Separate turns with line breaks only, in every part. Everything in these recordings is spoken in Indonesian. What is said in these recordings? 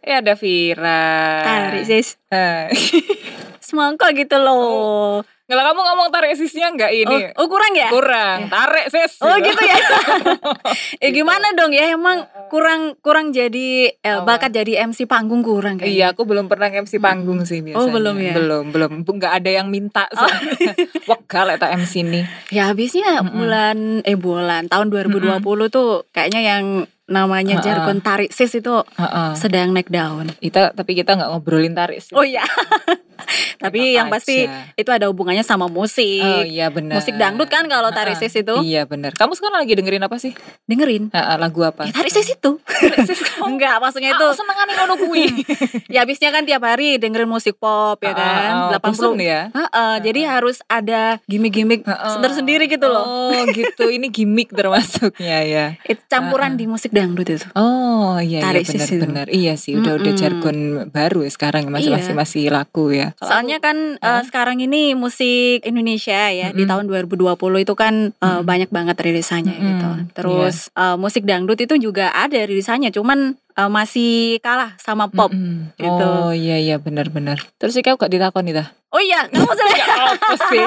Eh ada Vira.
Tarik sis.
Eh.
Semangka gitu loh.
Nggak kamu ngomong tarik sisnya nggak
Oh,
Oh, ini? iya.
oh, kurang ya?
Kurang. Tarik sis.
Oh gitu ya. ya
Gitu.
gimana dong ya emang kurang kurang jadi eh,
Eh, Apa?
bakat jadi MC panggung kurang kan? kayaknya.
Iya, aku belum pernah MC panggung sih biasanya.
Oh, belum ya? Oh.
Belum, belum. Bu- Nggak ada yang minta. soalnya. Wakal eta MC nih.
Ya habisnya
Mm-mm.
bulan eh bulan tahun 2020 tuh kayaknya yang namanya
Ha-ha.
jargon tarik sis itu
Heeh.
sedang naik daun.
Kita tapi kita nggak ngobrolin tarik sis.
Oh iya. Tapi
Apa
yang pasti
aja.
itu ada hubungannya sama
Oh
musik.
iya benar.
Musik dangdut kan kalau tarik
Heeh.
sis itu
Iya benar. Kamu sekarang lagi dengerin apa sih?
dengerin.
Heeh, lagu apa?
Ya, tarik sis itu. Enggak, maksudnya
itu
itu
seneng nih ngono kuwi.
ya habisnya kan tiap hari dengerin musik pop
Ah,
ya kan. 80
ya.
Heeh, jadi harus ada gimmick-gimmick
Heeh.
tersendiri gitu loh.
Ah, Oh, gitu. Ini gimmick termasuknya ya.
It- campuran di musik dangdut itu.
Oh, iya
Tarik
iya
sisi.
benar-benar. Iya sih, udah udah
Mm-mm.
jargon baru ya sekarang masih
Iya.
masih masih laku ya. Kalau
Soalnya kan eh,
Heeh.
sekarang ini musik Indonesia ya di
ah. Mm-mm.
tahun 2020 itu kan eh,
Mm-mm.
banyak banget rilisannya
Mm-mm. Iya.
gitu. Terus eh, musik dangdut itu juga ada rilisannya, cuman eh, masih kalah sama
aku-
pop.
Mm-mm.
gitu.
Oh, iya iya benar-benar. Terus sih kau gak ditakon nih dah.
Oh iya, kamu sudah.
Apa sih?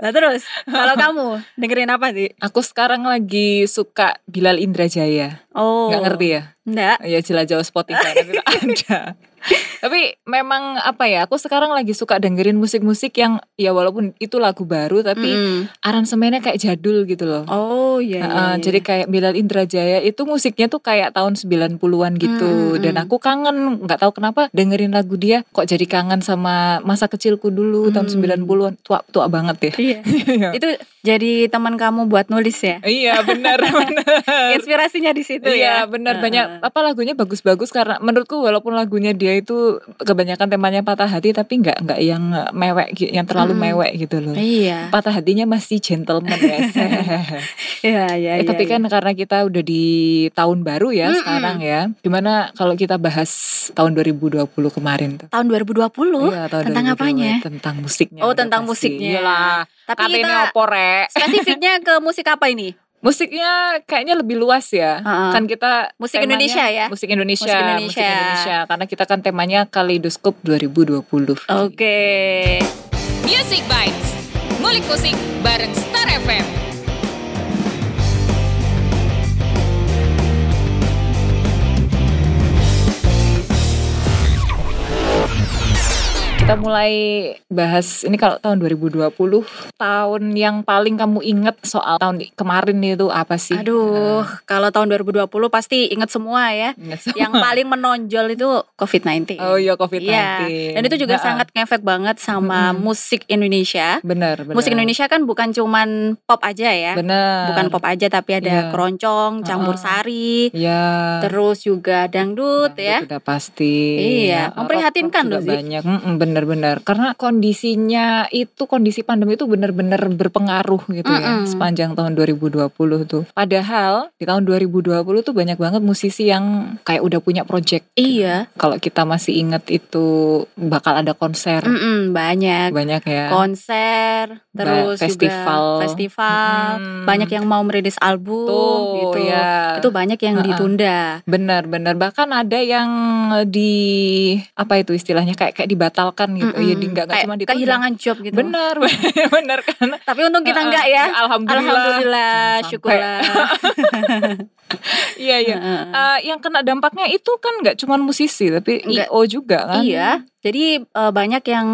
nah terus kalau kamu dengerin apa sih?
Aku sekarang lagi suka Bilal Indrajaya.
Oh,
Nggak ngerti ya?
Enggak.
Ya jelajah Spotify nanti tak ada. Tapi memang apa ya? Aku sekarang lagi suka dengerin musik-musik yang ya walaupun itu lagu baru tapi
Mm-mm.
aransemennya kayak jadul gitu loh.
Oh iya. iya,
Heeh,
iya.
ah, Jadi kayak Bilal Indrajaya itu musiknya tuh kayak tahun 90-an gitu
Hmm, hmm,
Dan
hmm.
aku kangen, nggak tahu kenapa dengerin lagu dia Kok jadi kangen sama masa kecilku dulu tahun
Hmm.
90-an Tua-tua banget deh
Iya.
Iya.
itu jadi teman kamu buat nulis ya?
Iya benar benar.
Inspirasinya di situ
Iya
ya.
benar
Heeh.
banyak apa lagunya bagus-bagus karena menurutku walaupun lagunya dia itu kebanyakan temanya patah hati tapi nggak nggak yang mewek gi- yang terlalu
Mm-mm.
mewek gitu loh.
Iya.
Patah hatinya masih gentleman ya. guys.
Iya, iya,
Eh,
iya.
tapi kan karena kita udah di tahun baru ya
Mm-mm.
sekarang ya. Gimana kalau kita bahas tahun 2020 kemarin tuh?
tahun 2020.
Iya, tahun
Uh, tentang
2020,
apanya?
Tentang musiknya. udah
Oh,
pasti.
tentang
Iya.
musiknya.
Iyalah,
Tapi
katanya
kita
opo rek.
spesifiknya ke musik apa ini?
Musiknya kayaknya lebih luas ya.
Heeh.
Kan kita
Uh, musik
temanya-
Indonesia ya.
Musik Indonesia,
Musik
musik
Indonesia.
Indonesia. Karena kita kan temanya Kaleidoskop 2020.
Oke.
Music Bites Ngulik musik bareng Star FM
Kita mulai bahas ini kalau tahun 2020, tahun yang paling kamu inget soal tahun di- kemarin itu apa sih?
Aduh, kalau tahun 2020 pasti ingat semua ya.
Ingat semua.
Yang paling menonjol itu COVID-19.
Oh iya COVID-19.
Iya. Dan itu juga
Ha-ha.
sangat ngefek banget sama
Mm-mm.
musik Indonesia.
benar, benar.
Musik Indonesia kan bukan cuman pop aja ya.
Benar.
Bukan pop aja tapi ada
Iya.
keroncong, campur
Ha-ha.
sari,
Ya.
terus juga dangdut ya.
Nah, Sudah pasti. Ya,
Iya, memprihatinkan
rock
loh,
juga
Zi.
Banyak, Mm-mm, benar-benar. Karena kondisinya itu kondisi pandemi itu benar-benar berpengaruh gitu ya
Mm-mm.
sepanjang tahun 2020 tuh. Padahal di tahun 2020 tuh banyak banget musisi yang kayak udah punya project.
Iya.
Kalau kita masih inget itu bakal ada konser
Mm-mm, banyak
banyak ya.
konser,
Ba-
terus
festival.
juga festival,
Mm.
banyak yang mau merilis album
tuh
gitu.
ya.
Itu banyak yang
Ha-ha.
ditunda.
Benar-benar bahkan ada yang di apa itu istilahnya kayak kayak dibatalkan gitu.
Mm-mm.
Iya, di- nggak nggak
Kayak
cuma ditunda.
kehilangan job gitu.
Benar, benar karena
Tapi untung kita
Heeh.
enggak ya.
Alhamdulillah.
Alhamdulillah,
Jangan sampai.
syukurlah.
Iya, iya.
Heeh.
Eh, yang kena dampaknya itu kan nggak cuma musisi tapi
Nah. Nggak.
IO juga kan.
Iya, jadi eh, banyak yang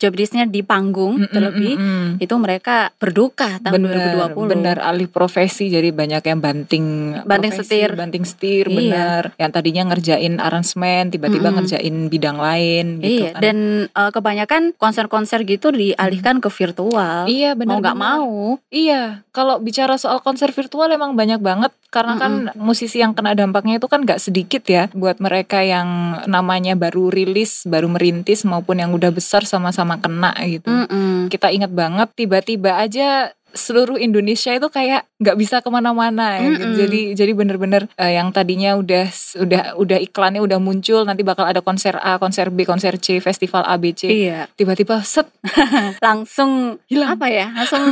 job listnya di panggung
Mm-mm,
terlebih
mm-mm.
itu mereka berduka tahun
benar,
2020.
benar alih profesi jadi banyak yang banting
Banting setir.
banting setir
Iya.
benar yang tadinya ngerjain aransemen tiba-tiba
Mm-mm.
ngerjain bidang lain gitu
Iya,
kan
dan eh, kebanyakan konser-konser gitu dialihkan ke virtual.
iya
mau
benar
nggak
benar.
mau,
Iya, kalau bicara soal konser virtual emang banyak banget karena kan musisi yang kena dampaknya itu kan nggak sedikit ya buat mereka yang namanya baru rilis, baru
Mm.
merintis maupun yang udah besar sama-sama kena gitu.
Mm-mm.
Kita ingat banget tiba-tiba aja seluruh Indonesia itu kayak nggak bisa kemana-mana ya. gitu.
Mm-mm.
Jadi jadi bener-bener eh, yang tadinya udah udah udah iklannya udah muncul nanti bakal ada konser A, konser B, konser C, festival ABC.
Iya,
Tiba-tiba set
langsung
hilang.
apa ya? Langsung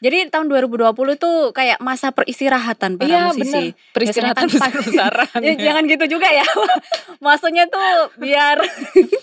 jadi tahun 2020 tuh kayak masa peristirahatan para
Iya bener Iya,
musisi.
Peristirahatan
Biasanya kan pas-
besar-besaran.
Ya, jangan gitu juga ya. Maksudnya tuh biar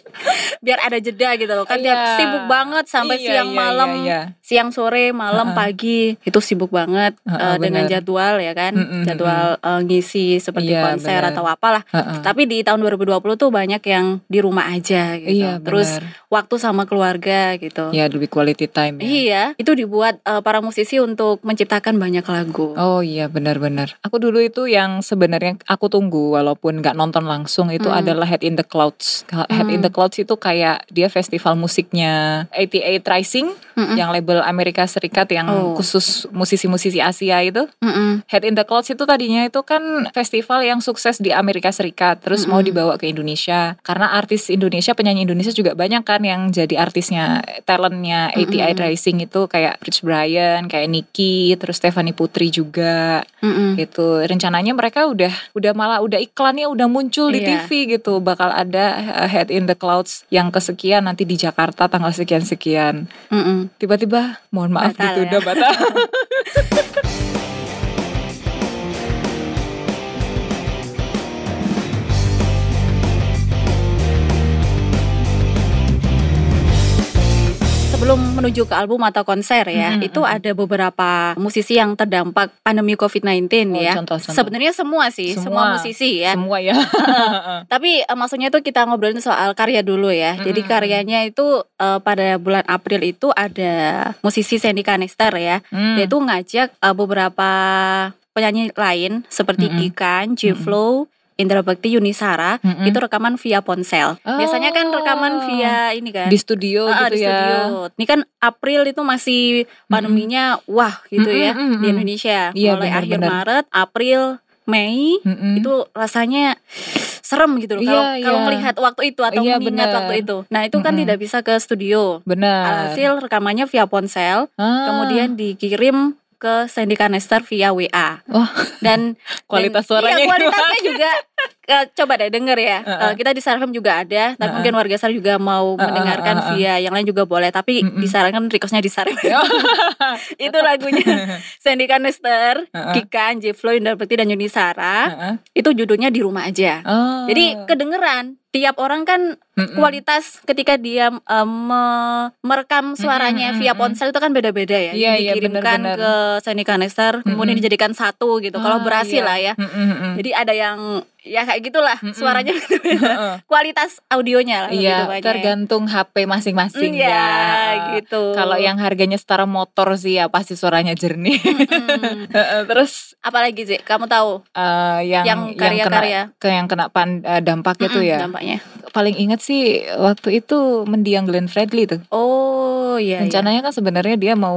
biar ada jeda gitu loh. Kan dia
Iya.
sibuk banget sampai
Iya,
siang
iya,
malam,
iya, iya.
siang sore, malam,
Ha-ha.
pagi. Itu sibuk banget
Ha-ha,
eh, dengan
bener.
jadwal ya kan.
Mm-mm,
jadwal eh, ngisi seperti
Iya,
konser
bener.
atau apalah.
Heeh.
Tapi di tahun 2020 tuh banyak yang di rumah aja gitu.
Iya,
Terus
bener.
waktu sama keluarga gitu.
ya lebih quality time ya.
Iya, itu dibuat eh, para musisi untuk menciptakan banyak lagu.
Oh iya benar-benar. Aku dulu itu yang sebenarnya aku tunggu walaupun nggak nonton langsung itu
Hmm.
adalah Head in the Clouds. Head in the Clouds itu kayak dia festival musiknya 88 Rising
Mm-mm,
yang label Amerika Serikat yang
Hmm. Oh.
khusus musisi-musisi Asia itu.
mm-mm.
Head in the Clouds itu tadinya itu kan festival yang sukses di Amerika Serikat terus mau
Mm-mm.
dibawa ke Indonesia karena artis Indonesia penyanyi Indonesia juga banyak kan yang jadi artisnya talentnya ATI
Mm-mm.
Rising itu kayak Rich Brian kayak Nicky terus Stephanie Putri juga
Mm-mm.
gitu rencananya mereka udah udah malah udah iklannya udah muncul di
Iya.
TV gitu bakal ada uh, Head in the Clouds yang kesekian nanti di Jakarta tanggal sekian sekian
Mm-mm.
tiba-tiba mohon maaf
Batal
gitu
ya.
udah batal
Sebelum menuju ke album atau konser ya,
Mm-mm,
itu
mm-mm.
ada beberapa musisi yang terdampak pandemi COVID-19
Oh,
ya.
contoh-contoh.
Sebenarnya semua sih, semua,
Semua.
musisi ya.
semua ya
Tapi eh, maksudnya itu kita ngobrolin soal karya dulu ya. Jadi
Mm-mm.
karyanya itu eh, pada bulan April itu ada musisi Sandy Kanester ya.
Hmm.
Dia itu ngajak eh, beberapa penyanyi lain seperti
Mm-mm.
Gikan, Jflow, Indra Bekti, Yunisara.
Mm-mm.
Itu rekaman via ponsel. Biasanya kan rekaman via ini kan.
Oh. di studio
Ah,
gitu
di
ya.
studio. Ini kan April itu masih pandeminya wah gitu ya
Mm-mm, mm-mm.
di Indonesia.
Iya,
Mulai
benar,
akhir
benar.
Maret, April, Mei
Mm-mm.
itu rasanya serem gitu loh
Iya,
kalau kalau
iya.
melihat waktu itu atau
Iya,
mengingat
benar.
waktu itu. Nah, itu kan
Mm-mm.
tidak bisa ke studio.
benar.
Alhasil rekamannya via ponsel,
Ah,
kemudian dikirim ke Sandy Kanester via WA.
Wah.
Dan
Oh. kualitas
dan-
suaranya Ah,
iya,
itu.
kualitasnya juga eh, coba deh denger ya.
Heeh.
Eh, kita di Sarfem juga ada, tapi
Heeh.
mungkin warga Sar juga mau
Heeh,
mendengarkan
heeh,
via yang lain juga boleh, tapi
ah, Mm-mm.
disarankan requestnya di Sarfem.
Ya.
itu lagunya Sandy Kanester,
Heeh.
Kikan, Jeflo, Indra Bekti dan Yuni Sara.
Heeh.
Itu judulnya di rumah aja.
Oh.
Jadi kedengeran tiap orang kan
Mm-mm.
kualitas ketika dia em, me- merekam suaranya
Mm-mm,
via
mm-mm.
ponsel itu kan beda-beda ya.
Iya, iya,
Dikirimkan
benar-benar.
ke Sandy Kanester, kemudian
Mm-mm.
dijadikan satu gitu. Kalau
Ah,
berhasil
iya.
lah ya.
Mm-mm, mm-mm.
Jadi ada yang ya kayak gitulah
Mm-mm.
suaranya gitu ya.
Heeh.
kualitas audionya lah
Iya,
gitu
tergantung HP masing-masing
ya.
ya.
gitu.
Kalau yang harganya setara motor sih ya pasti suaranya jernih.
Hmm. Mm-mm.
Heeh, Terus
Mm. apalagi sih kamu tahu
eh, yang
yang
kena
karya-karya
ke- yang kena pan- eh, dampak itu
Mm-mm,
ya.
dampaknya.
Paling inget sih waktu itu mendiang Glenn Fredly tuh.
Oh iya. iya.
Rencananya kan sebenarnya dia mau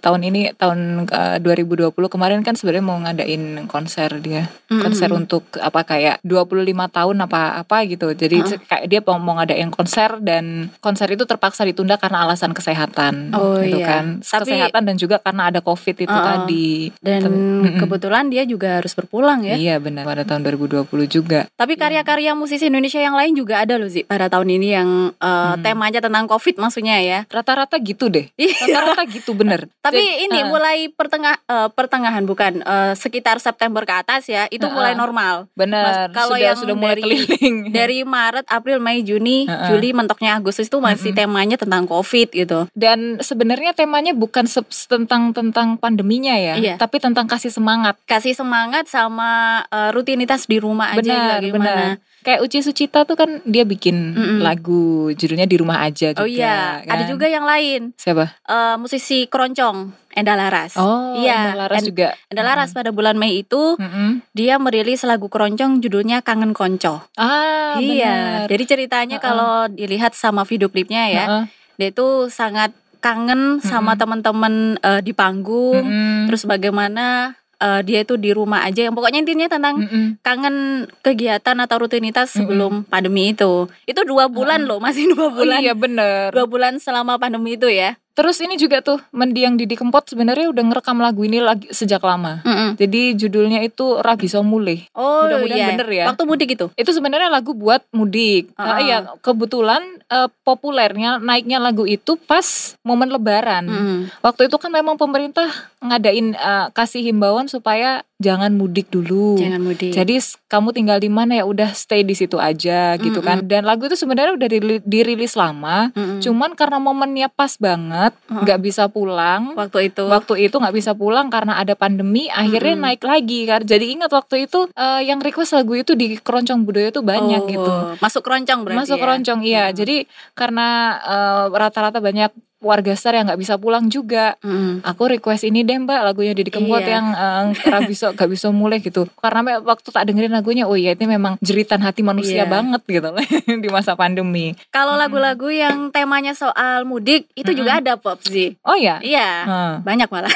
tahun ini tahun eh, 2020 kemarin kan sebenarnya mau ngadain konser dia.
Mm-mm.
Konser untuk apa kayak 25 tahun apa apa gitu. Jadi
Heeh.
kayak dia mau, mau ngadain konser dan konser itu terpaksa ditunda karena alasan kesehatan
Oh,
gitu
iya.
kan.
Tapi-
kesehatan dan juga karena ada Covid itu
Heeh.
tadi.
dan
Mm-mm.
kebetulan dia juga harus berpulang ya.
Iya benar pada tahun 2020 juga.
Tapi karya-karya musisi Indonesia yang lain juga ada loh sih pada tahun ini yang eh,
Hmm.
temanya tentang Covid maksudnya ya.
Rata-rata gitu deh. Rata-rata gitu bener.
Iya. Tapi
Jadi,
ini
eh,
mulai pertengah eh, pertengahan bukan eh, sekitar September ke atas ya itu
Ah,
mulai
ah.
normal.
benar.
Mas, kalau
sudah
yang
sudah mulai
dari-
keliling.
Dari Maret, April, Mei, Juni,
Ah, ah.
Juli mentoknya Agustus itu masih
Hmm.
temanya tentang Covid gitu.
dan sebenarnya temanya bukan se- tentang tentang pandeminya ya,
Iya.
tapi tentang kasih semangat.
Kasih semangat sama eh, rutinitas di rumah
Benar,
aja gitu gimana.
Kayak Uci Sucita tuh kan dia bikin
Mm-mm.
lagu judulnya di rumah aja juga.
Oh iya, ada
kan.
juga yang lain.
siapa?
Eh, musisi keroncong Enda Laras.
Oh, Hmm.
iya,
Enda Laras
En-
juga.
Enda Laras pada bulan Mei itu
Mm-mm.
dia merilis lagu keroncong judulnya Kangen Konco.
Ah,
iya.
benar.
Jadi ceritanya
Heeh.
kalau dilihat sama video klipnya ya,
Heeh,
dia itu sangat kangen sama
Mm-mm.
teman-teman eh, di panggung.
mm-mm,
Terus bagaimana eh, dia itu di rumah aja. Yang pokoknya intinya tentang
mm-mm. Oh,
kangen kegiatan atau rutinitas
Mm. Mm-mm.
sebelum pandemi itu. Itu dua bulan loh, masih
Oh,
dua bulan.
iya benar.
Dua bulan selama pandemi itu ya.
Terus ini juga tuh mendiang Didi Kempot sebenarnya udah ngerekam lagu ini lagi sejak lama.
Mm-mm.
Jadi judulnya itu Rabi Somule.
Oh
Mudah-mudahan
iya.
bener ya.
Waktu mudik itu.
Itu sebenarnya lagu buat mudik. Ah,
Ah.
iya, kebetulan eh, populernya naiknya lagu itu pas momen lebaran.
Mm.
Waktu itu kan memang pemerintah ngadain eh, kasih himbauan supaya jangan mudik dulu.
Jangan
Uh,
mudik.
Jadi s- kamu tinggal di mana ya udah stay di situ aja gitu kan. Dan lagu itu sebenarnya udah dirili- dirilis lama,
Mm-mm.
cuman karena momennya pas banget,
Mm-mm.
nggak bisa pulang.
waktu itu.
Gitu. Waktu itu nggak bisa pulang karena ada pandemi, akhirnya
Mm-mm.
naik lagi kan. Jadi ingat waktu itu eh, yang request lagu itu di Keroncong Budaya itu banyak
Oh,
gitu.
Masuk keroncong berarti.
Masuk
ya?
keroncong iya.
Mm.
Jadi karena eh, rata-rata banyak warga star yang nggak bisa pulang juga,
Mm.
aku request ini deh mbak lagunya Didi Kempot
Iya.
yang eh, Rabiso gak bisa mulai gitu karena me- waktu tak dengerin lagunya oh iya ini memang jeritan hati manusia
Iya.
banget gitu di masa pandemi
Kalau
Mm-mm.
lagu-lagu yang temanya soal mudik itu juga ada pop sih.
oh ya
Iya.
Heeh.
Banyak malah.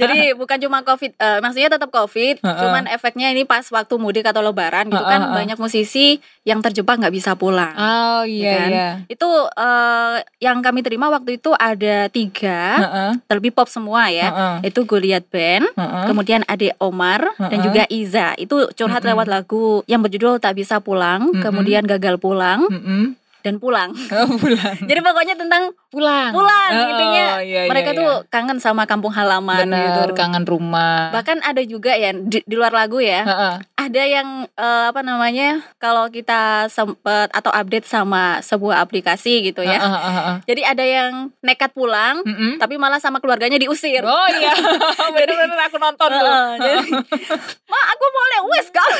Jadi bukan cuma covid, eh, maksudnya tetap covid,
Heeh.
cuman efeknya ini pas waktu mudik atau lebaran gitu
Heeh,
kan
heeh.
banyak musisi yang terjebak nggak bisa pulang.
oh iya
kan?
iya
Itu eh, yang kami terima waktu itu ada tiga,
Heeh,
terlebih pop semua ya.
heeh,
Itu Goliath Band,
heeh.
kemudian Ade Omar dan
Heeh.
juga Iza. Itu curhat
Mm-mm.
lewat lagu yang berjudul Tak Bisa Pulang,
Mm-mm.
kemudian Gagal Pulang
Mm-mm.
dan Pulang.
Oh, pulang
Jadi pokoknya tentang
pulang Oh,
pulang Kan, intinya
iya,
mereka
iya,
tuh
iya.
kangen sama kampung halaman
bener
gitu.
kangen rumah
Bahkan ada juga ya di, di luar lagu ya,
Heeh.
ada yang eh, apa namanya? Kalau kita sempet atau update sama sebuah aplikasi gitu ya.
Heeh, heeh, heeh. Hmm.
Jadi ada yang nekat pulang
Mm-mm.
tapi malah sama keluarganya diusir.
oh iya bener-bener aku nonton tuh
Heeh, jadi, Ma aku boleh wes kau.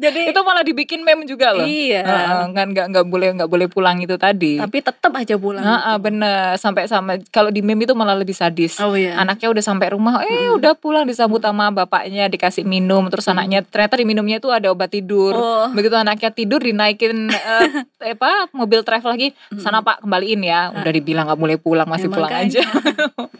Jadi
itu malah dibikin meme juga loh
iya.
Heeh, kan nggak nggak boleh nggak boleh pulang itu tadi.
Tapi tetap aja pulang.
Heeh, bener sampai sama kalau di meme itu malah lebih sadis.
Oh iya.
Anaknya udah sampai rumah, eh udah pulang disambut sama bapaknya dikasih minum, terus anaknya ternyata di minumnya itu ada obat tidur.
Oh.
Begitu anaknya tidur dinaikin eh, apa mobil travel lagi, sana Pak kembaliin
Ah.
ya. Udah dibilang nggak boleh pulang masih
Ya,
pulang
makanya.
aja.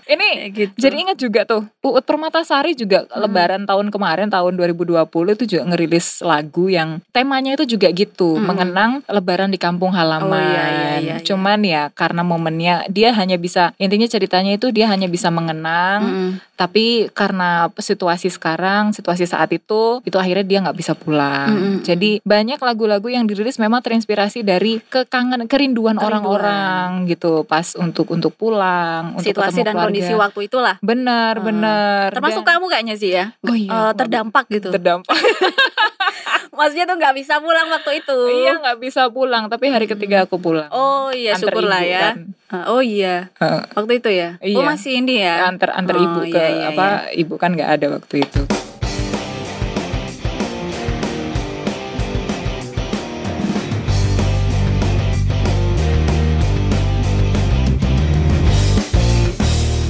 Ini
Kayak gitu.
jadi ingat juga tuh Uut Permatasari juga lebaran tahun kemarin tahun 2020 itu juga ngerilis lagu yang temanya itu juga gitu
Hmm.
mengenang lebaran di kampung halaman.
Oh, iya, iya, iya, iya.
Cuman ya karena momennya dia hanya bisa intinya ceritanya itu dia hanya bisa mengenang
Mm-mm.
tapi karena situasi sekarang, situasi saat itu itu akhirnya dia nggak bisa pulang.
Mm-mm.
Jadi banyak lagu-lagu yang dirilis memang terinspirasi dari kekangen kerinduan
Kerinduan.
orang-orang gitu pas untuk untuk pulang, untuk ketemu
situasi dan
keluarga.
kondisi waktu itulah.
Benar,
Hmm.
benar.
Termasuk
Dan-
kamu kayaknya sih ya.
Oh iya,
Eh,
aku nggak
terdampak
bisa-
gitu.
Terdampak.
Maksudnya tuh nggak bisa pulang waktu itu.
iya, nggak bisa pulang, tapi hari ketiga aku pulang.
Oh iya,
Antar
syukurlah
ibu
ya.
kan.
Eh, Oh iya.
Heeh.
Waktu itu ya. Oh
Iya.
masih ini ya.
Antar antar
Oh,
ibu
iya,
ke
iya,
apa? Ibu kan nggak ada waktu itu.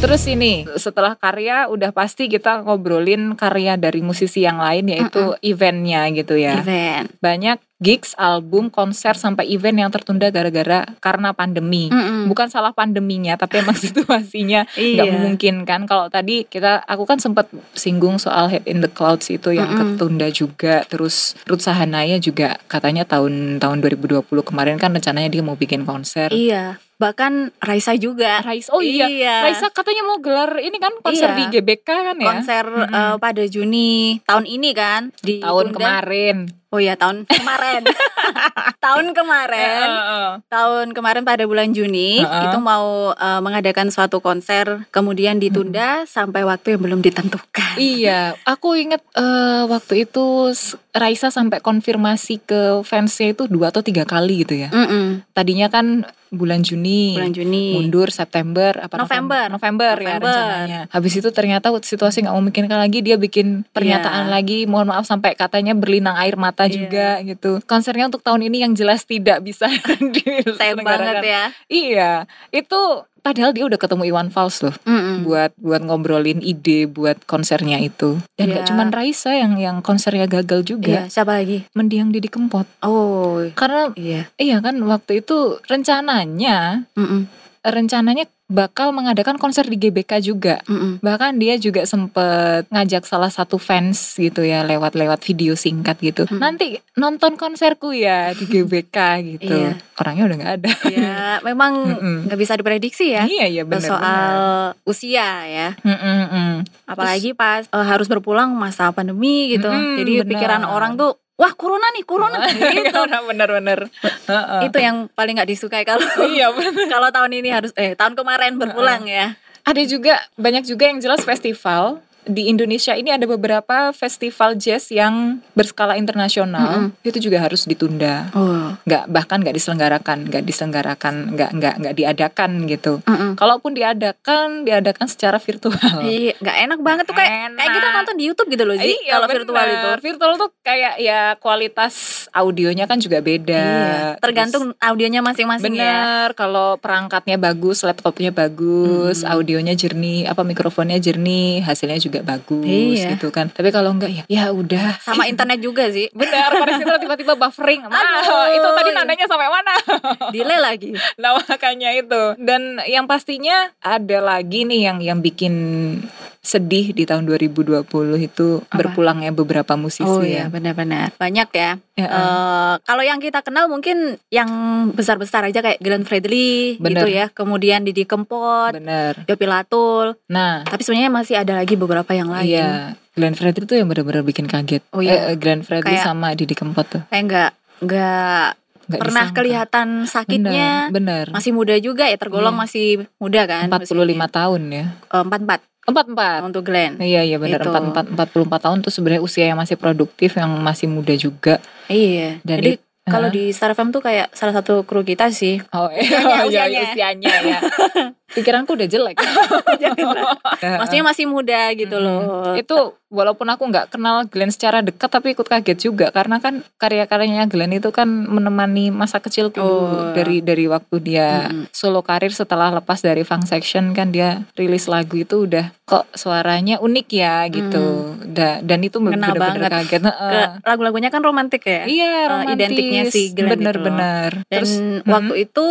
Terus ini setelah karya udah pasti kita ngobrolin karya dari musisi yang lain yaitu eventnya gitu ya.
Event.
banyak gigs, album, konser sampai event yang tertunda gara-gara karena pandemi.
Mm-mm.
Bukan salah pandeminya, tapi emang situasinya Iya. nggak
Iya.
memungkinkan. Kalau tadi kita, aku kan sempat singgung soal Head in the Clouds itu yang
Mm-mm.
ketunda juga. Terus Ruth Sahanaya juga katanya tahun tahun 2020 kemarin kan rencananya dia mau bikin konser.
Iya. Bahkan Raisa juga.
Raisa, oh iya, Raisa katanya mau gelar ini kan konser
Iya.
di GBK kan ya?
Konser
Mm-mm.
eh, pada Juni tahun ini kan di
tahun kemarin.
Oh iya tahun kemarin.
Eh,
tahun kemarin.
Heeh.
tahun kemarin pada bulan Juni
Heeh.
itu mau eh, mengadakan suatu konser kemudian ditunda sampai waktu yang belum ditentukan.
Iya, aku inget eh, waktu itu s- Raisa sampai konfirmasi ke fansnya itu dua atau tiga kali gitu ya.
Mm-mm,
Tadinya kan bulan Juni,
bulan Juni.
mundur September, apa
Hmm. November.
November, ya
November.
rencananya. Habis itu ternyata situasi nggak memungkinkan lagi, dia bikin pernyataan
Iya.
lagi, mohon maaf sampai katanya berlinang air mata
Iya.
juga gitu. Konsernya untuk tahun ini yang jelas tidak bisa
Sayang banget
diselenggarakan.
ya.
Iya, itu padahal dia udah ketemu Iwan Fals loh
Mm-mm.
buat buat ngobrolin ide buat konsernya itu dan nggak
Iya.
cuman Raisa yang yang konsernya gagal juga
Iya, siapa lagi?
mendiang Didi Kempot
Oh,
karena
iya.
iya kan waktu itu rencananya
Mm-mm.
rencananya bakal mengadakan konser di GBK juga.
Mm-mm.
Bahkan dia juga sempet ngajak salah satu fans gitu ya lewat-lewat video singkat gitu.
Hmm.
Nanti nonton konserku ya di GBK gitu.
Iya.
Orangnya udah nggak ada.
ya memang
Mm-mm.
nggak bisa diprediksi ya
Iya iya benar.
soal usia ya apalagi pas eh, harus berpulang masa pandemi gitu
Mm-mm,
jadi
benar.
pikiran orang tuh wah corona nih corona gitu
benar-benar.
itu yang paling nggak disukai kalau
Iya bener.
kalau tahun ini harus eh tahun kemarin berpulang ya
Ada juga banyak juga yang jelas festival di Indonesia ini ada beberapa festival jazz yang berskala internasional itu juga harus ditunda
oh
nggak bahkan nggak diselenggarakan nggak diselenggarakan nggak nggak nggak diadakan gitu kalaupun diadakan diadakan secara virtual
Iya, nggak enak banget tuh kayak kayak kita
Enak.
nonton di YouTube gitu loh, Ji.
Iya,
kalau virtual
bener.
itu.
virtual tuh kayak ya kualitas audionya kan juga beda
Iya, tergantung audionya
Terus,
masing-masing ya.
bener kalau perangkatnya bagus laptopnya bagus
Hmm.
audionya jernih apa mikrofonnya jernih hasilnya juga bagus
Iya.
gitu kan tapi kalau enggak ya ya udah
Sama internet juga sih.
benar Parisitra tiba-tiba buffering
Nah,
Mah,
Aduh.
itu tadi nadanya sampai mana
Delay lagi.
Nah makanya itu Dan yang pastinya ada lagi nih yang yang bikin sedih di tahun 2020 itu
Apa?
berpulangnya beberapa musisi ya.
benar-benar. Oh, iya, Banyak ya.
Ya,
Eh, kalau yang kita kenal mungkin yang besar-besar aja kayak Glenn Fredly
Bener.
gitu ya. Kemudian Didi Kempot,
bener.
Yopi Latul.
eh, Nah,
Tapi sebenarnya masih ada lagi beberapa yang lain.
iya. Glenn Fredly tuh yang bener-bener bikin kaget.
Oh iya.
Eh, eh, Glenn Fredly
Kayak-
sama Didi Kempot tuh.
Kayak nggak nggak
Nggak
pernah
disangka.
kelihatan sakitnya.
Bener, bener.
Masih muda juga ya, tergolong
Iya.
masih muda kan. eh,
45 tahun ya.
Empat empat
44.
untuk Glenn.
Iya iya benar
Itu.
44 44 tahun tuh sebenarnya usia yang masih produktif yang masih muda juga.
Iya.
Dan
Jadi
it-
kalau di Star FM tuh kayak salah satu kru kita sih.
Oh,
Usianya,
iya, iya,
usianya.
usianya ya. Pikiranku udah jelek.
Maksudnya masih muda gitu
Mm-mm. Iya.
loh.
itu walaupun aku nggak kenal Glenn secara dekat tapi ikut kaget juga karena kan karya-karyanya Glenn itu kan menemani masa kecilku
Oh.
dari dari waktu dia
Mm-mm.
solo karir setelah lepas dari Funk Section kan dia rilis lagu itu udah kok suaranya unik ya gitu Da- dan itu
Ngena
benar-benar
banget.
kaget
Ke
Heeh.
lagu-lagunya kan romantik ya.
iya romantis
identiknya si Glenn itu
bener-bener
Dan waktu itu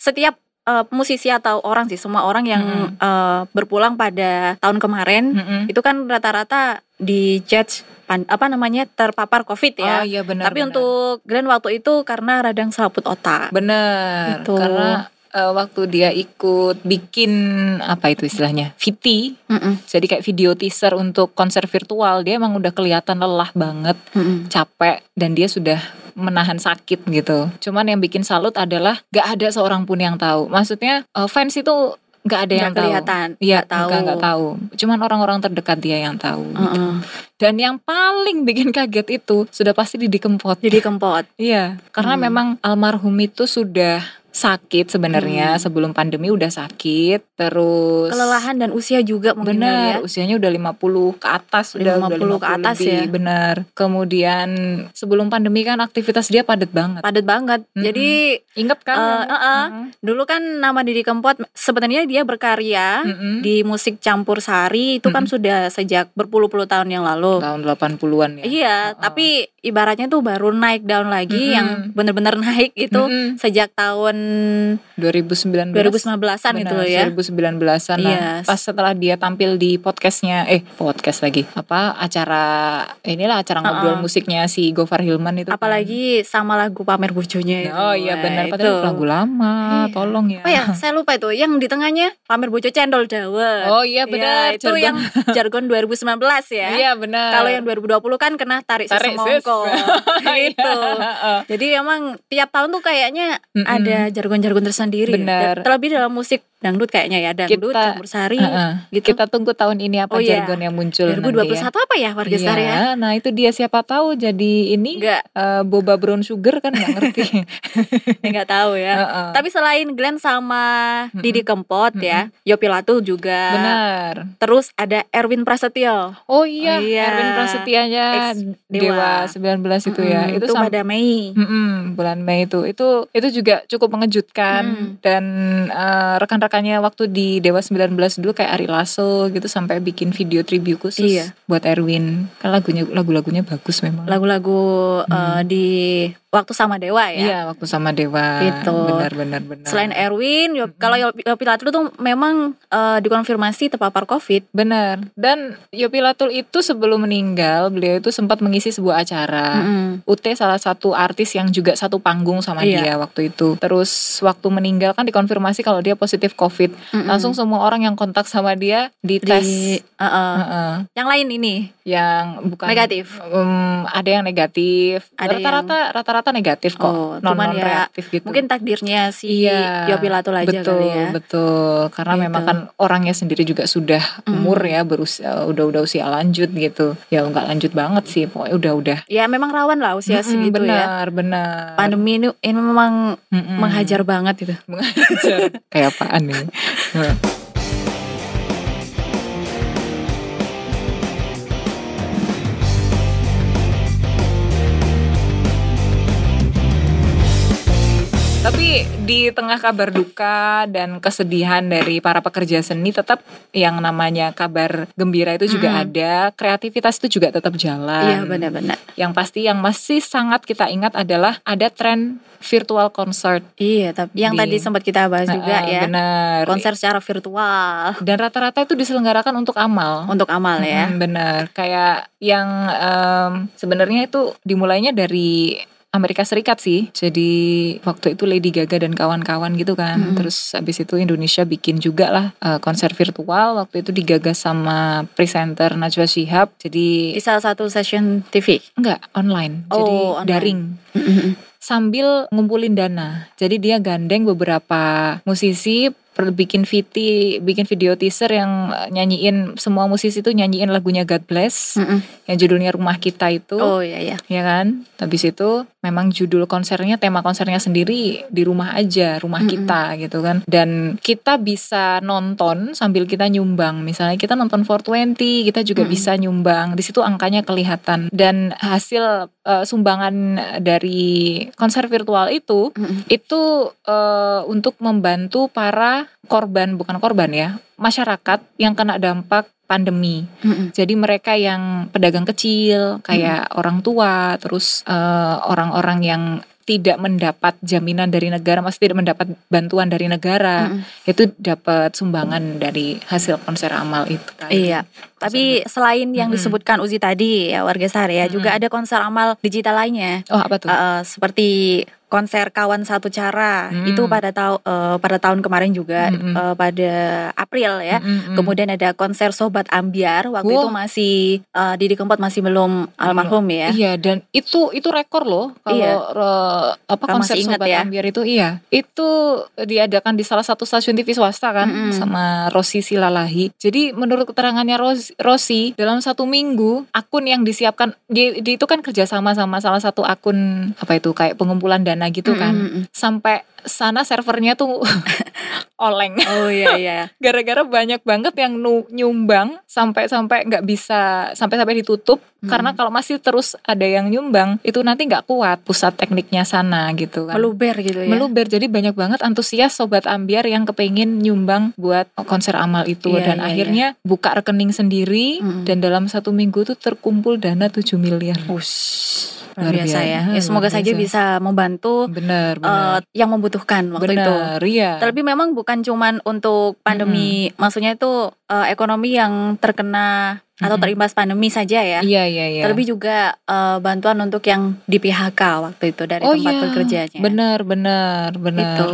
setiap eh, musisi atau orang sih semua orang yang
Mm-mm.
eh, berpulang pada tahun kemarin
mm-mm.
itu kan rata-rata di judge pan- apa namanya terpapar Covid
oh
ya.
iya benar
Tapi untuk Glenn waktu itu karena radang selaput otak.
Bener,
Gitu.
karena eh, waktu dia ikut bikin apa itu istilahnya VT,
Mm-mm,
jadi kayak video teaser untuk konser virtual, dia emang udah kelihatan lelah banget,
mm-mm.
capek, dan dia sudah menahan sakit gitu. Cuman yang bikin salut adalah gak ada seorang pun yang tahu. Maksudnya eh, fans itu gak ada
Nggak
yang tahu.
kelihatan.
Iya,
nggak tahu.
nggak- nggak tahu. Cuman orang-orang terdekat dia yang tahu.
Mm-mm.
Dan yang paling bikin kaget itu sudah pasti Didi Kempot.
Jadi kempot.
Iya, karena
Hmm.
memang almarhum itu sudah sakit sebenarnya
Hmm.
sebelum pandemi udah sakit terus
kelelahan dan usia juga mungkin kali
benar
ya.
usianya udah 50 ke atas udah udah
50 ke atas
lebih,
ya.
benar kemudian sebelum pandemi kan aktivitas dia padat banget
Padat banget.
Mm-mm.
Jadi
ingat kan
eh,
memang?
eh, eh,
Mm-mm.
dulu kan nama Didi Kempot sebenarnya dia berkarya
Mm-mm.
di musik campur sari itu kan sudah sejak berpuluh-puluh tahun yang lalu.
tahun 80-an ya
Iya,
Oh, oh.
tapi ibaratnya tuh baru naik down
Mm-mm.
lagi yang bener-bener naik itu
Mm-mm.
sejak tahun
2019
2019-an gitu loh ya. Iya.
2019-an lah.
Yes.
Nah, Pas setelah dia tampil di podcastnya, eh podcast lagi. Apa acara inilah acara ngobrol
Uh-uh.
musiknya si Gofar Hilman itu. kan.
Apalagi sama lagu pamer bojonya itu.
Oh iya benar,
Nah,
padahal itu lagu lama,
Iya.
tolong ya.
Apa ya? Saya lupa itu. Yang di tengahnya pamer bojo cendol dawet.
Oh iya benar,
itu
jargon.
yang jargon 2019 ya.
Iya benar.
Kalau yang 2020 kan kena tarik,
Tarik,
sesemongko
Iya.
gitu. Jadi emang tiap tahun tuh kayaknya
Mm-mm.
ada jargon-jargon tersendiri. ya.
Bener.
Dan Terlebih dalam musik dangdut kayaknya ya, dangdut,
Kita-
campur sari
Heeh.
gitu.
Kita tunggu tahun ini apa
Oh, iya.
jargon yang muncul
2021
nanti ya.
apa ya warga star ya?
Iya, nah itu dia siapa tahu jadi ini
Enggak,
eh, boba brown sugar kan nggak ngerti.
enggak tahu ya.
Heeh.
Tapi selain Glenn sama
Mm-mm.
Didi Kempot ya, Yopi Latul juga.
Benar.
Terus ada Erwin Prasetyo,
Oh iya,
Iya.
Erwin Prasetyanya
Ex
Kan Dewa. 19 itu ya.
Mm-mm,
Itu sama
pada Mei.
Mm-mm, bulan Mei itu. Itu itu juga cukup mengejutkan
Mm.
dan eh, rekan-rekan makanya waktu di Dewa 19 dulu kayak Ari Lasso gitu sampai bikin video tribute khusus
Iya.
buat Erwin. Kan lagunya lagu-lagunya bagus memang.
lagu-lagu eh,
Hmm.
di waktu sama Dewa ya.
Iya, waktu sama Dewa.
Gitu.
Benar-benar benar.
Selain Erwin, Yo-
Mhm.
kalau Yopi Yopi Latul tuh memang eh, dikonfirmasi terpapar COVID.
Benar. Dan Yopi Latul itu sebelum meninggal, beliau itu sempat mengisi sebuah acara.
Mm-mm.
Ute salah satu artis yang juga satu panggung sama
Iya.
dia waktu itu. Terus waktu meninggal kan dikonfirmasi kalau dia positif COVID.
Mm-mm.
Langsung semua orang yang kontak sama dia
di
dites.
eh-eh.
Heeh.
yang lain ini
Yang bukan
negatif.
Em, ada yang negatif.
Ada
rata-rata rata-rata negatif kok.
Oh,
non
cuman ya
reaktif gitu.
mungkin takdirnya si
Iya,
Yopi Latul aja
betul
kali ya.
betul karena
Gitu.
memang kan orangnya sendiri juga sudah
Mm.
umur ya berusia udah-udah usia lanjut gitu ya nggak lanjut banget sih pokoknya udah-udah
Ya memang rawan lah usia
Mm-mm,
segitu ya.
benar Mm. benar
Pandemi ini, ini memang
Mm-mm.
menghajar banget itu.
mengajar kayak apaan nih Tapi di tengah kabar duka dan kesedihan dari para pekerja seni tetap yang namanya kabar gembira itu juga
Mm-mm.
ada, kreativitas itu juga tetap jalan.
Iya benar-benar.
Yang pasti yang masih sangat kita ingat adalah ada tren virtual concert.
Iya tapi yang
Di-
tadi sempat kita bahas
Nah,
juga ya
Benar.
konser secara virtual
Dan rata-rata itu diselenggarakan untuk amal.
untuk amal ya.
Mm, benar. Kayak yang em, sebenarnya itu dimulainya dari Amerika Serikat sih. Jadi waktu itu Lady Gaga dan kawan-kawan gitu kan.
Mm.
Terus abis itu Indonesia bikin juga lah eh, konser virtual. Waktu itu digagas sama presenter Najwa Shihab. Jadi
Di salah satu session TV.
enggak online.
Oh,
jadi
online.
daring. sambil ngumpulin dana. Jadi dia gandeng beberapa musisi per- bikin VT, bikin video teaser yang eh, nyanyiin semua musisi itu nyanyiin lagunya God Bless
Mm-mm.
yang judulnya Rumah Kita itu,
Oh iya iya.
ya kan? Habis itu memang judul konsernya, tema konsernya sendiri di rumah aja, rumah
Mm-mm.
kita gitu kan. Dan kita bisa nonton sambil kita nyumbang. Misalnya kita nonton 420, kita juga
Mm-mm.
bisa nyumbang. Di situ angkanya kelihatan dan hasil eh, sumbangan dari konser virtual itu
Mm-mm.
itu eh, untuk membantu para korban bukan korban ya masyarakat yang kena dampak pandemi.
Mm-mm.
Jadi mereka yang pedagang kecil kayak orang tua, terus eh, orang-orang yang tidak mendapat jaminan dari negara, maksudnya tidak mendapat bantuan dari negara,
Mm-mm.
itu dapat sumbangan dari hasil konser amal itu. kan. tadi.
Iya. Tapi selain yang
Mm-mm.
disebutkan Uzi tadi ya warga sari ya juga ada konser amal digital lainnya.
Oh apa tuh?
Uh, seperti konser kawan satu cara
Hmm.
itu pada tahun uh, pada tahun kemarin juga
Hmm, hmm.
uh, pada April ya.
Mm, mm, mm.
Kemudian ada konser Sobat Ambiar waktu
Wah.
itu masih uh, Didi Kempot masih belum almarhum ya.
Iya dan itu itu rekor loh kalau
Iya.
re- apa
Kalau
konser
masih ingat
Sobat
ya.
Ambiar itu iya itu diadakan di salah satu stasiun TV swasta kan
Mm-mm.
sama Rosi Silalahi. Jadi menurut keterangannya Ros- Rosi dalam satu minggu akun yang disiapkan di, di itu kan kerjasama sama salah satu akun apa itu kayak pengumpulan dana gitu kan
Mm-mm.
sampai sana servernya tuh oleng
Oh iya iya.
gara-gara banyak banget yang nu- nyumbang sampai-sampai nggak bisa sampai-sampai ditutup
Hmm.
karena kalau masih terus ada yang nyumbang itu nanti nggak kuat pusat tekniknya sana gitu kan
Meluber gitu ya.
meluber jadi banyak banget antusias sobat ambiar yang kepengin nyumbang buat konser amal itu
Iya,
dan
iya, Hmm.
akhirnya buka rekening sendiri
Mm-mm.
dan dalam satu minggu tuh terkumpul dana 7 miliar
Oh. Ush,
Luar
luar biasa
biasa.
ya.
Luar
ya semoga saja
biasa.
bisa membantu
bener
uh,
bener
yang membutuhkan waktu itu.
bener iya
Terlebih memang bukan cuman untuk pandemi, maksudnya itu eh, ekonomi yang terkena
Mm-mm.
atau terimbas pandemi saja ya.
iya iya iya
Terlebih juga eh, bantuan untuk yang di PHK waktu itu dari tempat
iya.
bekerjanya.
bener bener bener
Itu.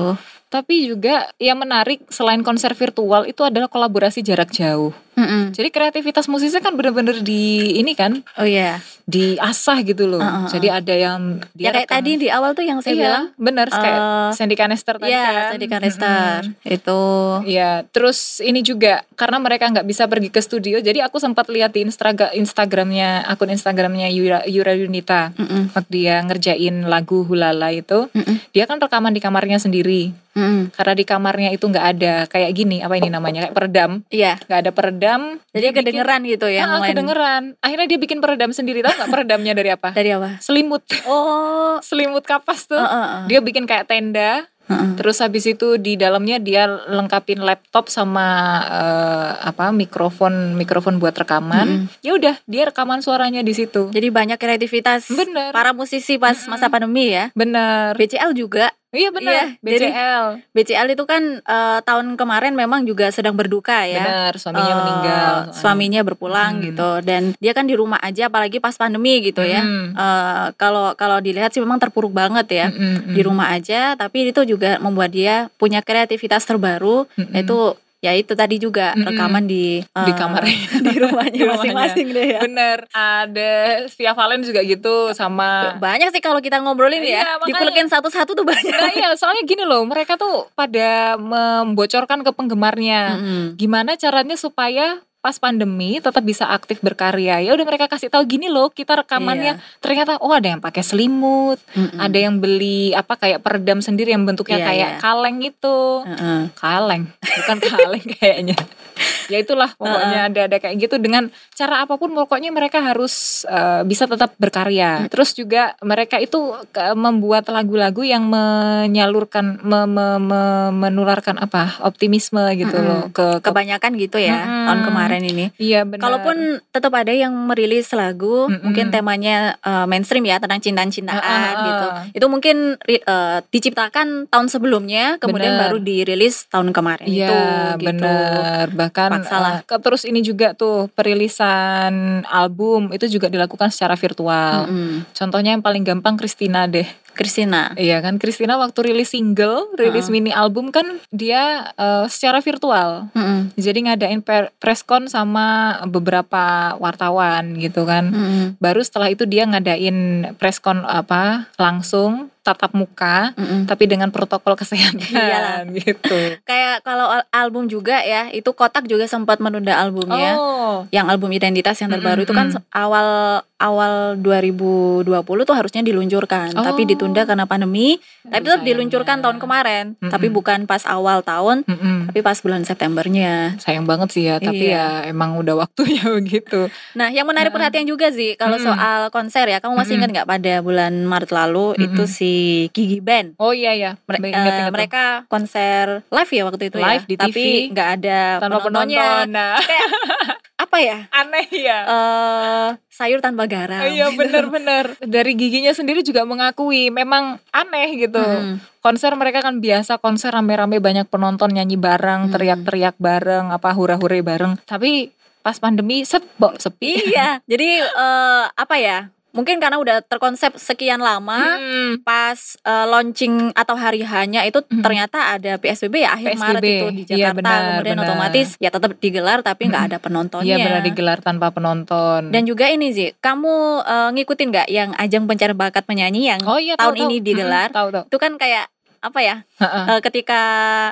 Tapi juga yang menarik selain konser virtual itu adalah kolaborasi jarak jauh.
Mm-mm.
Jadi kreativitas musisi kan bener-bener di ini kan
Oh iya.
diasah gitu loh.
Heeh,
Jadi ada yang
Ah, Ya kayak tadi di awal tuh yang
saya
saya bilang
bener Iya, kayak
eh,
Sandy Kanester tadi
Iya,
kan.
Sandy Kanester.
Mm-mm.
itu
Iya, terus ini juga karena mereka nggak bisa pergi ke studio, jadi aku sempat lihat di Instagram Instagramnya akun Instagramnya Yura, Yura Yunita
Mm-mm.
waktu dia ngerjain lagu Hulala itu,
Mm-mm.
dia kan rekaman di kamarnya sendiri.
Mm-mm.
karena di kamarnya itu nggak ada kayak gini apa ini namanya kayak peredam
Iya,
nggak ada peredam peredam.
Jadi
dia bikin-
kedengeran gitu ya
Ah,
yang lain.
kedengeran. Akhirnya dia bikin peredam sendiri tau nggak peredamnya dari apa?
Dari apa?
Selimut,
Oh,
selimut kapas tuh.
eh, eh, eh.
Dia bikin kayak tenda.
Eh, eh.
Terus habis itu di dalamnya dia lengkapin laptop sama eh, apa mikrofon mikrofon buat rekaman.
Mm-mm.
Ya udah, dia rekaman suaranya di situ.
Jadi banyak kreativitas
Bener.
para musisi pas
Mm-mm.
masa pandemi ya.
Bener.
BCL juga.
Iya
Iya,
bener.
jadi-
BCL.
BCL itu kan eh, tahun kemarin memang juga sedang berduka ya.
Bener. Suaminya
Eh,
meninggal. soalnya.
Suaminya berpulang
Hmm.
gitu dan dia kan di rumah aja apalagi pas pandemi gitu ya.
Mm-mm.
Eh, kalau kalau dilihat sih memang terpuruk banget ya.
Mm-mm,
Di rumah aja tapi itu juga membuat dia punya kreativitas terbaru
mm-mm.
yaitu ya itu tadi juga
Mm-mm.
rekaman di
di
eh,
kamarnya.
di rumahnya
Di rumahnya.
masing-masing deh ya.
Bener. Ada Via Valen juga gitu sama
Banyak sih kalau kita ngobrolin
Iya,
ya.
makanya.
Dikulekin satu-satu tuh banyak.
Nah iya soalnya gini loh mereka tuh pada membocorkan ke penggemarnya
Mm-mm.
gimana caranya supaya pas pandemi tetap bisa aktif berkarya ya udah mereka kasih tahu gini loh kita rekamannya
Iya.
ternyata oh ada yang pakai selimut
Mm-mm.
ada yang beli apa kayak peredam sendiri yang bentuknya
Hmm. Iya,
kayak
iya. Hmm.
kaleng itu
Heeh.
kaleng bukan kaleng kayaknya ya itulah pokoknya ada ada kayak gitu dengan cara apapun pokoknya mereka harus eh, bisa tetap
Hmm.
berkarya terus juga mereka itu ke- membuat lagu-lagu yang menyalurkan me- me- me- menularkan apa optimisme gitu
Mm-mm.
loh ke, ke-
Kebanyakan gitu ya
Mm-mm.
tahun kemarin ini.
iya benar
Kalaupun tetap ada yang merilis lagu,
Mm-mm.
mungkin temanya eh, mainstream ya tentang
Ah,
cinta-cintaan
ah, ah.
gitu. Itu mungkin ri- eh, diciptakan tahun sebelumnya, kemudian
Bener.
baru dirilis tahun kemarin itu.
Iya
gitu.
benar bahkan
Paksa lah.
eh, ke- terus ini juga tuh perilisan album itu juga dilakukan secara virtual
Mm-mm.
contohnya yang paling gampang Christina deh
Christina.
Iya kan Christina waktu rilis single, rilis
Heeh.
mini album kan dia eh, secara virtual.
Mm-mm.
Jadi ngadain per- presscon sama beberapa wartawan gitu kan.
Mm-mm.
Baru setelah itu dia ngadain presscon apa langsung tatap muka
Mm-mm.
tapi dengan protokol kesehatan
Iyalah.
gitu.
Kayak kalau al- album juga ya, itu Kotak juga sempat menunda albumnya.
Oh.
Yang album identitas yang terbaru itu kan
Mm-mm.
awal awal 2020 tuh harusnya diluncurkan, tapi
Oh.
ditunda karena pandemi. Tapi tetap
Sayangnya.
diluncurkan tahun kemarin,
Mm-mm.
tapi bukan pas awal tahun,
Mm-mm.
tapi pas bulan Septembernya.
Sayang banget sih ya, tapi
Iya.
ya emang udah waktunya begitu.
Nah, yang menarik
Mm-mm.
perhatian juga sih kalau
Mm-mm.
soal konser ya, kamu masih
Mm-mm.
ingat nggak pada bulan Maret lalu
Mm-mm.
itu si Gigi Band
Oh iya ya,
Mere-
Ingat,
eh,
ingat, ingat.
mereka konser live ya waktu itu
Live
ya,
di
tapi
TV,
nggak ada
tanpa
penontonnya.
penonton. Nah,
Apa ya?
aneh ya.
Eh, sayur tanpa garam.
Iya benar-benar dari giginya sendiri juga mengakui memang aneh gitu
Mm-mm.
konser mereka kan biasa konser rame-rame banyak penonton nyanyi bareng
Hmm.
teriak-teriak bareng apa hura-hure bareng tapi pas pandemi set bok sepi
Iya, jadi eh, apa ya? Mungkin karena udah terkonsep sekian lama,
Hmm,
pas eh, launching atau hari hanya itu
Mhm.
ternyata ada PSBB ya akhir
PSBB,
Maret itu di
iya,
Jakarta
benar,
kemudian
benar.
otomatis ya tetap digelar tapi nggak
Mhm.
ada penontonnya.
iya benar digelar tanpa penonton
Dan juga ini sih, kamu eh, ngikutin nggak yang ajang pencari bakat penyanyi yang
oh iya
tahun
tahu,
ini
tahu.
digelar?
Mm, tahu tahu
itu kan kayak apa ya?
Ha-ha.
eh, ketika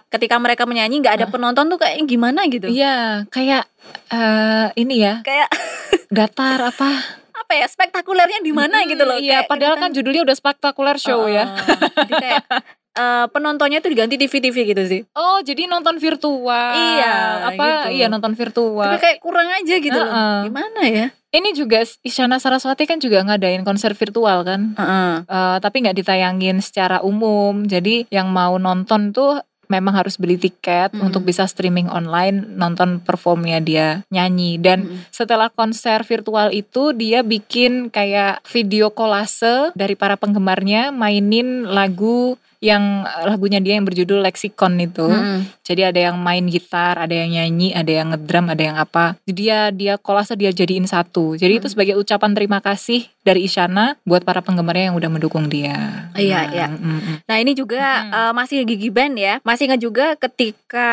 ketika mereka menyanyi nggak ada penonton tuh kayak gimana gitu?
iya kayak eh, ini ya
Kayak
datar apa
apa ya? Spektakulernya di mana
Hmm,
gitu loh?
iya
Kayak
padahal
kita-
kan judulnya udah spektakuler show ya
Uh-uh. Jadi kayak eh, penontonnya tuh diganti TV-TV gitu sih.
oh jadi nonton virtual
Iya,
apa
gitu.
iya nonton virtual
Tapi kayak kurang aja gitu loh.
Heeh.
Gimana ya?
Ini juga Isyana Saraswati kan juga ngadain konser virtual kan,
Heeh.
Eh, tapi nggak ditayangin secara umum. Jadi yang mau nonton tuh memang harus beli tiket
Mm-mm.
untuk bisa streaming online nonton performnya dia nyanyi. Dan
Mm-mm.
setelah konser virtual itu dia bikin kayak video kolase dari para penggemarnya mainin lagu yang lagunya dia yang berjudul Lexicon itu.
Heeh.
Jadi ada yang main gitar, ada yang nyanyi, ada yang ngedrum, ada yang apa. Jadi dia dia kolase dia jadiin satu. Jadi itu
Hmm.
sebagai ucapan terima kasih dari Isyana buat para penggemarnya yang udah mendukung dia.
Iya, iya.
mm, mm.
Nah ini juga
Mm-mm.
eh, masih Gigi Band ya Masih ingat juga ketika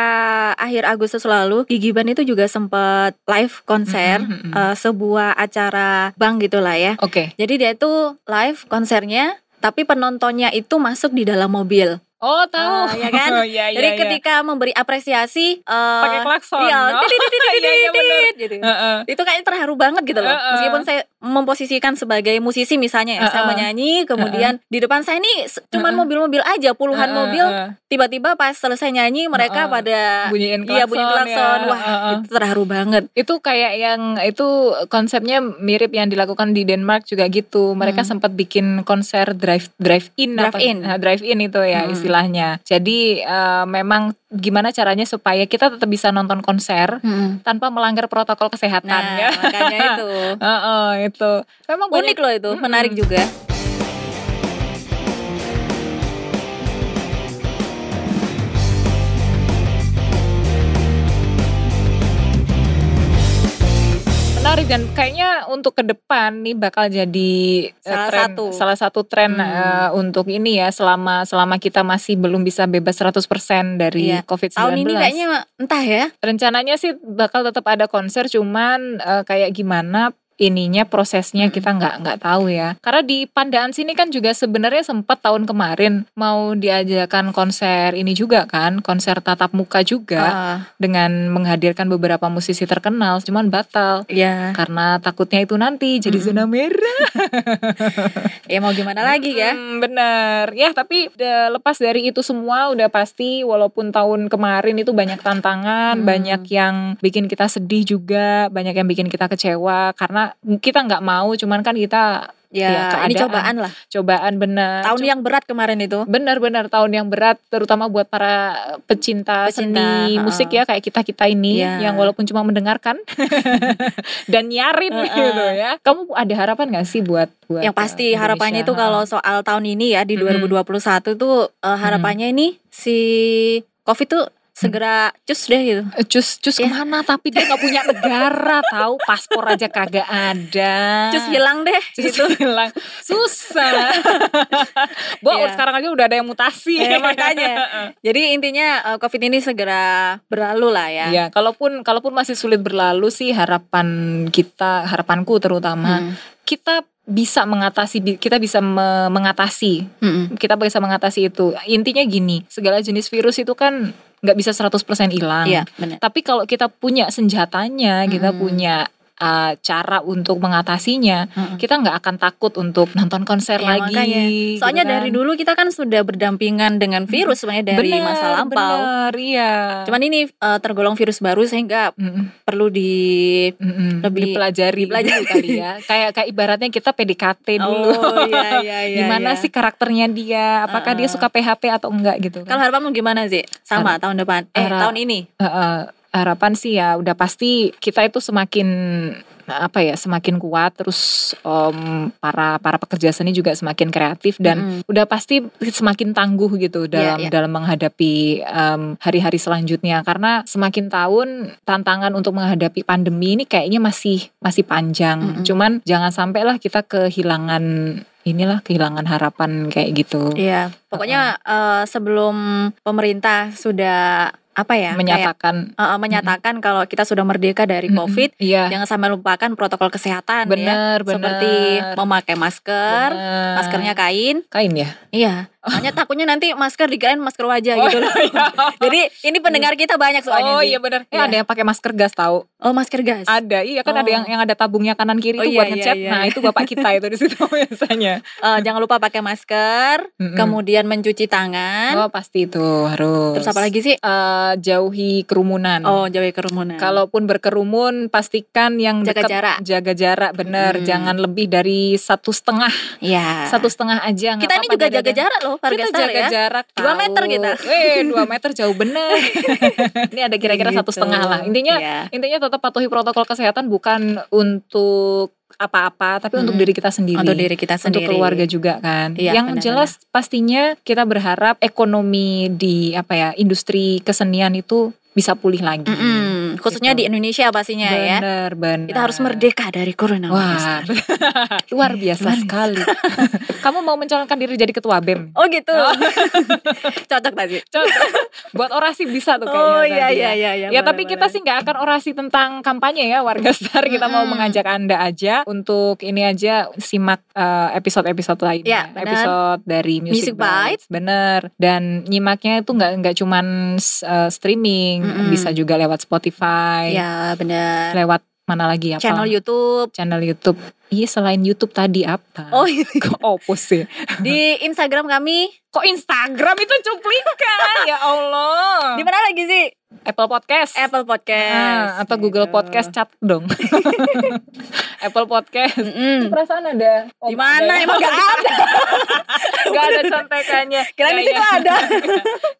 akhir Agustus lalu Gigi Band itu juga sempat live konser
Mm, mm, mm, mm.
eh, Sebuah acara bank gitulah ya
Oke.
Jadi dia itu live konsernya tapi penontonnya itu masuk di dalam mobil.
Oh tahu
Ah, ya kan?
Oh, iya, iya,
Jadi
iya.
ketika memberi apresiasi eh,
pakai klakson.
iya,
Oh, iya, iya, bener.
tidididididididididid, gitu.
Heeh.
Itu kayaknya terharu banget gitu loh.
Heeh.
Meskipun saya memposisikan sebagai musisi misalnya ya, saya
Heeh.
menyanyi, kemudian di depan saya nih se- cuman
Heeh.
mobil-mobil aja, puluhan
Heeh,
mobil.
heeh.
Tiba-tiba pas selesai nyanyi mereka
Heeh.
pada
bunyiin klakson.
iya bunyi klakson.
ya.
Wah,
Heeh.
itu terharu banget.
Itu kayak yang itu konsepnya mirip yang dilakukan di Denmark juga gitu. Mereka
Hmm.
sempat bikin konser drive drive in
Drive-in.
drive in itu ya
Hmm.
istilahnya. Jadi eh, memang gimana caranya supaya kita tetap bisa nonton konser tanpa melanggar protokol kesehatan
Nah,
ya.
makanya itu.
Heeh, itu. Memang banyak-
Unik loh itu,
Mm-mm.
menarik juga.
menarik dan kayaknya untuk ke depan nih bakal jadi eh,
Salah
tren-
satu.
salah satu tren
Hmm.
eh, untuk ini ya selama selama kita masih belum bisa bebas 100% dari
Iya.
COVID-19.
Tahun ini kayaknya entah ya.
rencananya sih bakal tetap ada konser cuman eh, kayak gimana ininya prosesnya
Mm-mm.
kita nggak nggak tahu ya karena di Pandaan sini kan juga sebenarnya sempat tahun kemarin mau diajakan konser ini juga kan konser tatap muka juga
Ah,
dengan menghadirkan beberapa musisi terkenal cuman batal
Iya.
karena takutnya itu nanti jadi
Mm-mm.
zona merah
Ya mau gimana lagi ya?
Hmm, bener ya tapi de- lepas dari itu semua udah pasti walaupun tahun kemarin itu banyak tantangan
Hmm.
banyak yang bikin kita sedih juga banyak yang bikin kita kecewa karena kita nggak mau cuman kan kita Iya, keadaan.
Ya, ini
Nah,
cobaan lah.
cobaan bener
Tahun yang berat kemarin itu.
benar-benar tahun yang berat terutama buat para pecinta,
Pecinta,
seni
heeh.
musik ya kayak kita kita ini
Iya.
yang walaupun cuma mendengarkan dan nyarin
Heeh.
gitu ya kamu ada harapan nggak sih buat buat
Yang pasti
eh,
harapannya itu
Indonesia?
kalau soal tahun ini ya di
Mm-mm.
2021 itu eh, harapannya ini si Covid tuh segera cus deh gitu.
Eh, cus cus
Iya.
kemana tapi dia nggak punya negara tahu paspor aja kagak ada
Cus hilang deh
Cus
gitu.
hilang susah bu
Iya.
sekarang aja udah ada yang mutasi
Ya, makanya. Jadi intinya eh, Covid ini segera berlalu lah ya.
Ya, kalaupun kalaupun masih sulit berlalu sih harapan kita, harapanku terutama
Hmm.
kita bisa mengatasi bi- kita bisa me- mengatasi,
Mm-mm.
kita bisa mengatasi itu. Intinya gini, segala jenis virus itu kan nggak bisa 100% hilang.
Iya, benar.
Tapi kalau kita punya senjatanya, kita
Mm.
punya uh, cara untuk mengatasinya,
Mm-mm.
kita nggak akan takut untuk nonton konser
Iya,
lagi.
makanya.
gitu
Soalnya
kan.
dari dulu kita kan sudah berdampingan dengan virus sebenarnya dari
Bener,
masa lampau.
bener, iya.
Cuman ini eh, tergolong virus baru sehingga
Mm-mm.
perlu di
Mm-mm,
Lebih
dipelajari,
dipelajari.
dulu kali ya. Kayak kayak ibaratnya kita PDKT dulu.
iya iya iya.
Oh, Gimana
iya.
sih karakternya dia? Apakah dia
Uh-uh.
suka PHP atau enggak gitu?
Kalau
Kan?
harapanmu gimana sih? Sama tahun depan. Eh,
harap-
tahun ini.
Uh-uh, harapan sih ya udah pasti kita itu semakin apa ya semakin kuat terus um, para para pekerja seni juga semakin kreatif dan
Mm-mm.
udah pasti semakin tangguh gitu dalam
Iya, iya.
dalam menghadapi em, hari-hari selanjutnya karena semakin tahun tantangan untuk menghadapi pandemi ini kayaknya masih masih panjang.
Mm-mm.
Cuman jangan sampailah kita kehilangan inilah kehilangan harapan kayak gitu.
Iya, pokoknya eh, sebelum pemerintah sudah apa ya? kayak,
menyatakan
eh, eh, menyatakan kalau kita sudah merdeka dari
Mm-mm.
Covid,
iya
jangan sampai lupakan protokol kesehatan ya.
benar benar
Seperti memakai masker,
Benar.
maskernya kain.
kain ya.
Iya. Soalnya takutnya nanti masker dikain masker wajah gitu loh. Jadi ini pendengar kita banyak soalnya.
Oh
Ji.
iya benar. Eh
Iya.
ada yang pakai masker gas tahu.
Oh, masker gas.
Ada. Iya kan ada
Oh.
yang yang ada tabungnya kanan kiri
Oh,
itu
iya,
buat
iya,
ngecat.
iya,
Nah,
iya.
itu bapak kita itu di situ biasanya.
Eh, jangan lupa pakai masker,
Mm-mm.
kemudian mencuci tangan.
Mm. Oh pasti itu harus.
Terus apa lagi sih?
Eh, jauhi kerumunan.
Oh, jauhi kerumunan.
Kalaupun berkerumun pastikan yang
jaga
dekat-
jarak.
jaga jarak bener.
Mm.
Jangan lebih dari satu setengah,
Iya.
satu setengah aja. nggak
kita ini
apa-apa,
juga
jaga
jaga jarak loh,
kita
Warga Star
jaga
ya.
jarak
Dua
tahu.
meter kita.
Weh, dua meter jauh bener. ini ada kira-kira satu
Gitu.
setengah lah. Intinya
Iya.
intinya tetap patuhi protokol kesehatan bukan untuk apa-apa, tapi untuk
Mm-mm.
diri kita sendiri.
untuk diri kita
untuk
sendiri.
keluarga juga kan.
Iya,
yang
benar-benar.
jelas pastinya kita berharap ekonomi di apa ya industri kesenian itu bisa pulih lagi.
Mm-mm. Mm-mm, khususnya
Gitu.
di Indonesia pastinya ya.
Bener, bener.
Kita harus merdeka dari corona.
Wah, luar biasa
Luar biasa.
sekali. Kamu mau mencalonkan diri jadi ketua BEM?
Oh gitu.
Oh.
Cocok tadi.
Cocok. Buat orasi bisa tuh kayaknya.
Oh iya
tadi ya.
iya iya iya.
Ya tapi kita sih nggak akan orasi tentang kampanye ya warga star kita mau
Mm-mm.
mengajak anda aja untuk ini aja simak eh, episode-episode lainnya
Ya, benar.
episode dari Music,
Music Bites.
Bites bener dan nyimaknya itu nggak nggak cuman eh, streaming
Mm-mm.
bisa juga lewat Spotify
Ya benar.
lewat mana lagi apa
Channel YouTube.
channel YouTube iya selain YouTube tadi apa
Oh
kok opus sih
di Instagram kami.
kok Instagram itu cuplikan ya Allah
Di mana lagi sih?
Apple Podcast
Apple Podcast
Ah, atau Google
Gitu.
Podcast chat dong. Apple Podcast.
Mm-mm.
Perasaan ada. Oh, ya?
Di mana emang gak ada?
Gak ada contekannya.
Kira di situ ada.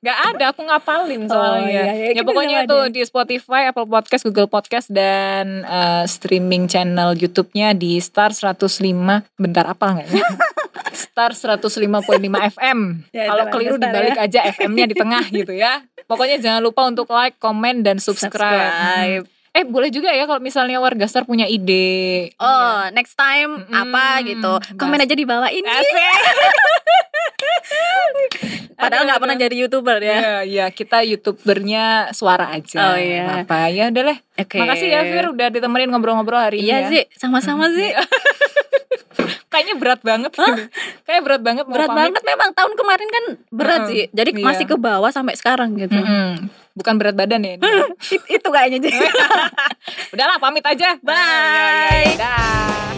Gak ada. Aku ngapalin soalnya.
iya, iya,
Ya
kita
pokoknya
sama
itu
ada.
di Spotify, Apple Podcast, Google Podcast dan eh, streaming channel YouTube-nya di Star 105. Bentar apa nggak? ya? Star 105.5 FM.
Ya,
Kalau
itu
keliru
aja, Star,
dibalik aja FM-nya di tengah gitu ya. Pokoknya jangan lupa untuk like, komen dan subscribe.
Subscribe.
Eh boleh juga ya kalau misalnya warga star punya ide.
Oh, next time
Iya. Mm-mm.
apa gitu? Komen aja di bawah ini.
Iya. Asik.
Padahal nggak pernah jadi youtuber
Ya,
ya.
ya kita youtubernya suara aja.
Oh, iya.
Apa ya udah deh.
Oke.
Makasih ya Fir Iya, udah ditemenin ngobrol-ngobrol hari
Iya
ini. ya.
sih, sama-sama sih.
Kayaknya berat banget. ini. Kayaknya berat banget. mau
Berat
pamit.
banget memang tahun kemarin kan berat
Mm-mm.
sih. Jadi
Iya.
masih ke bawah sampai sekarang gitu.
Mm-mm. Bukan berat badan ya. ini.
It- itu kayaknya jadi.
Udahlah pamit aja.
Bye.
Ya, ya, ya, dah.